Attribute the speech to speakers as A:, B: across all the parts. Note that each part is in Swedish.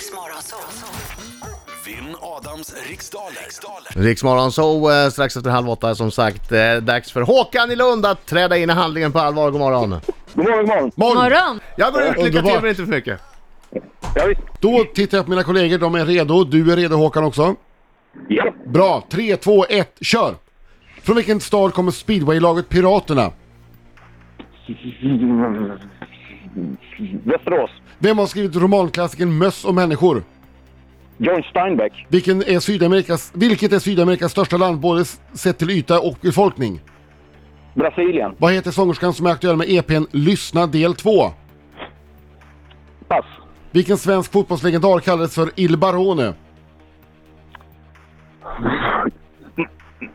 A: Morgonzoo.
B: Vinn Adams riksdaler. riksdaler.
C: Riksmorgon så eh, strax efter halv åtta som sagt. Eh, dags för Håkan i Lund att träda in i handlingen på allvar. God morgon.
D: God morgon, god morgon.
E: Morgon.
F: Morgon!
C: Jag går ut, lycka till
E: Underbart.
C: men inte för mycket.
D: Ja, visst.
E: Då tittar jag på mina kollegor, de är redo. Du är redo Håkan också.
D: Ja.
E: Bra, 3, 2, 1, kör! Från vilken stad kommer speedwaylaget Piraterna?
D: Västerås.
E: Vem har skrivit romanklassikern Möss och människor?
D: John Steinbeck.
E: Vilken är Sydamerikas, vilket är Sydamerikas största land både s- sett till yta och befolkning?
D: Brasilien.
E: Vad heter sångerskan som är aktuell med EPn Lyssna del 2?
D: Pass.
E: Vilken svensk fotbollslegendar kallades för Il Barone?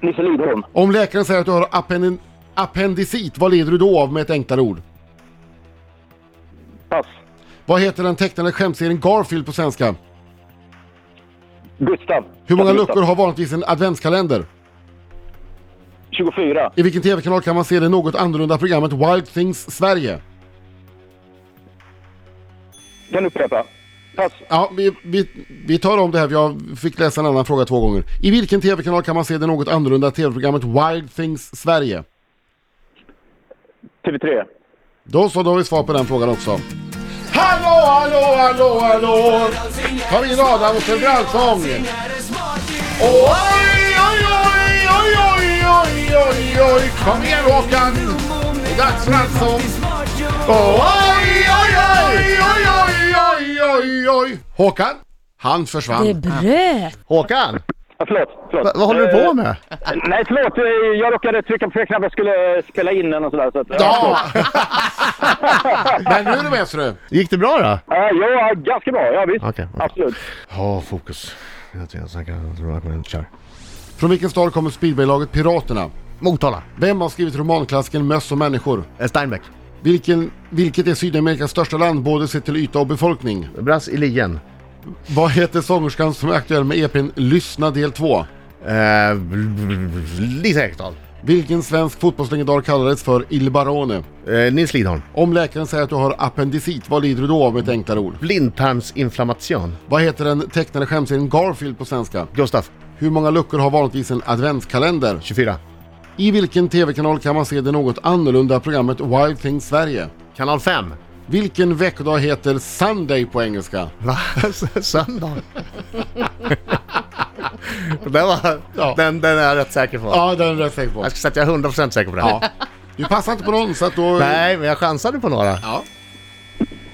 D: Nisse Lidholm.
E: Om läkaren säger att du har appendin- appendicit, vad lider du då av med ett enklare ord?
D: Pass.
E: Vad heter den tecknade skämtserien Garfield på svenska?
D: Gustav.
E: Hur många
D: Gustav.
E: luckor har vanligtvis en adventskalender?
D: 24.
E: I vilken TV-kanal kan man se det något annorlunda programmet Wild Things Sverige?
D: Kan du upprepa? Pass.
E: Ja, vi, vi, vi tar om det här, jag fick läsa en annan fråga två gånger. I vilken TV-kanal kan man se det något annorlunda TV-programmet Wild Things Sverige?
D: TV3.
E: Då så, då har vi svar på den frågan också. Hallå, hallå, hallå, hallå! Tar vi in Adam och en brandsång! Oj, oj, oj, oj, oj, oj, oj, oj, kom igen Håkan! Det är dags för allsång! Oj, oj, oj, oj, oj, oj, oj, oj! Håkan, han
F: Det
E: försvann.
F: bröt!
C: Håkan,
D: Ja, förlåt. förlåt.
C: vad håller du på med?
D: Eh, Nej, förlåt. Eh, Jag råkade trycka på fel knapp. Jag skulle eh, spela in den och sådär. Så att,
E: Ja! Men nu är det med, ser du.
C: Gick det bra då?
D: Ja, ja, ganska bra. Ja, visst.
C: Okej.
D: Absolut.
C: Ja, fokus. Jag tror jag snackar, jag tror att man kör.
E: Från vilken stad kommer speedwaylaget Piraterna?
C: Motala,
E: Vem har skrivit romanklassikern Möss och människor?
C: Eh, Steinbeck,
E: Vilken, vilket är Sydamerikas största land både sett till yta och befolkning?
C: Brasilien,
E: Vad heter sångerskan som är aktuell med EPn Lyssna del 2?
C: eh, Lisa Ekdahl,
E: Vilken svensk fotbollslegendar kallades för Il Barone?
C: eh, Nils Lidholm,
E: Om läkaren säger att du har appendicit, vad lider du då av med ett enklare ord?
C: blindtarmsinflammation,
E: Vad heter den tecknade skämtserien Garfield på svenska?
C: Gustaf,
E: Hur många luckor har vanligtvis en adventskalender?
C: 24,
E: I vilken TV-kanal kan man se det något annorlunda programmet Wild Things Sverige?
C: kanal 5.
E: Vilken veckodag heter Sunday på engelska?
C: Va? Söndag? den, var,
E: Ja.
C: den, den är jag rätt säker på.
E: Ja, den är jag rätt säker på.
C: Jag ska säga att jag är 100% säker på det.
E: Ja. Du passar inte på någon så att då...
C: Nej, men jag chansade på några.
E: Ja.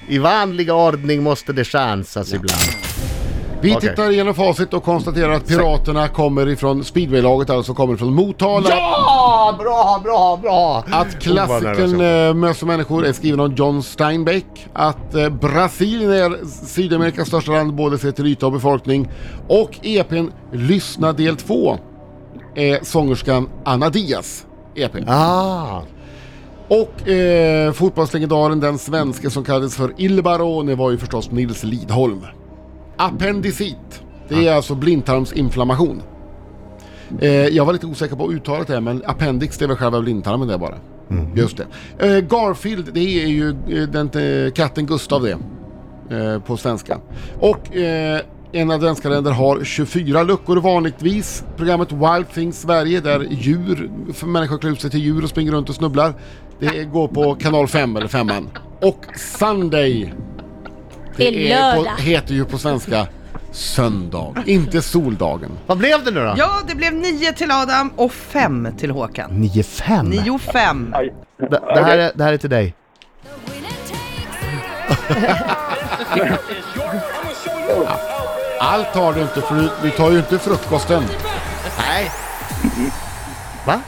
C: I vanlig ordning måste det chansas ibland.
E: Vi
C: Okej.
E: tittar igenom facit och konstaterar att Piraterna kommer ifrån speedwaylaget, alltså kommer från Motala.
C: Ja! Oh, Bra, bra, bra!
E: Att klassikern eh, Möss och människor är skriven av John Steinbeck. Att eh, Brasilien är Sydamerikas största land både sett till yta och befolkning. Och EPn Lyssna del 2 är sångerskan Anna Diaz E EP.
C: Ah,
E: Och eh, fotbollslegendaren, den svenske som kallades för Il Barone var ju förstås Nils Lidholm. Appendicit, det är alltså blindtarmsinflammation. Eh, jag var lite osäker på uttalet där, men appendix det är väl själva blindtarmen där bara. Just det. Eh, Garfield, det är ju eh, den, eh, katten Gustav det. Eh, på svenska. Och eh, en adventskalender har 24 luckor vanligtvis. Programmet Wild Things Sverige där djur, för människor klär ut sig till djur och springer runt och snubblar. Det går på kanal 5 eller 5 Och Sunday
F: Det är
E: är på,
F: lördag.
E: heter ju på svenska söndag, inte soldagen.
C: vad blev det nu då?
G: Ja, det blev 9 till Adam och 5 till Håkan.
C: 9-5.
G: 9-5.
D: Aj.
C: Det, det, här är, det här är till dig.
E: Allt har du inte för du- vi tar ju inte frukosten.
C: Nej.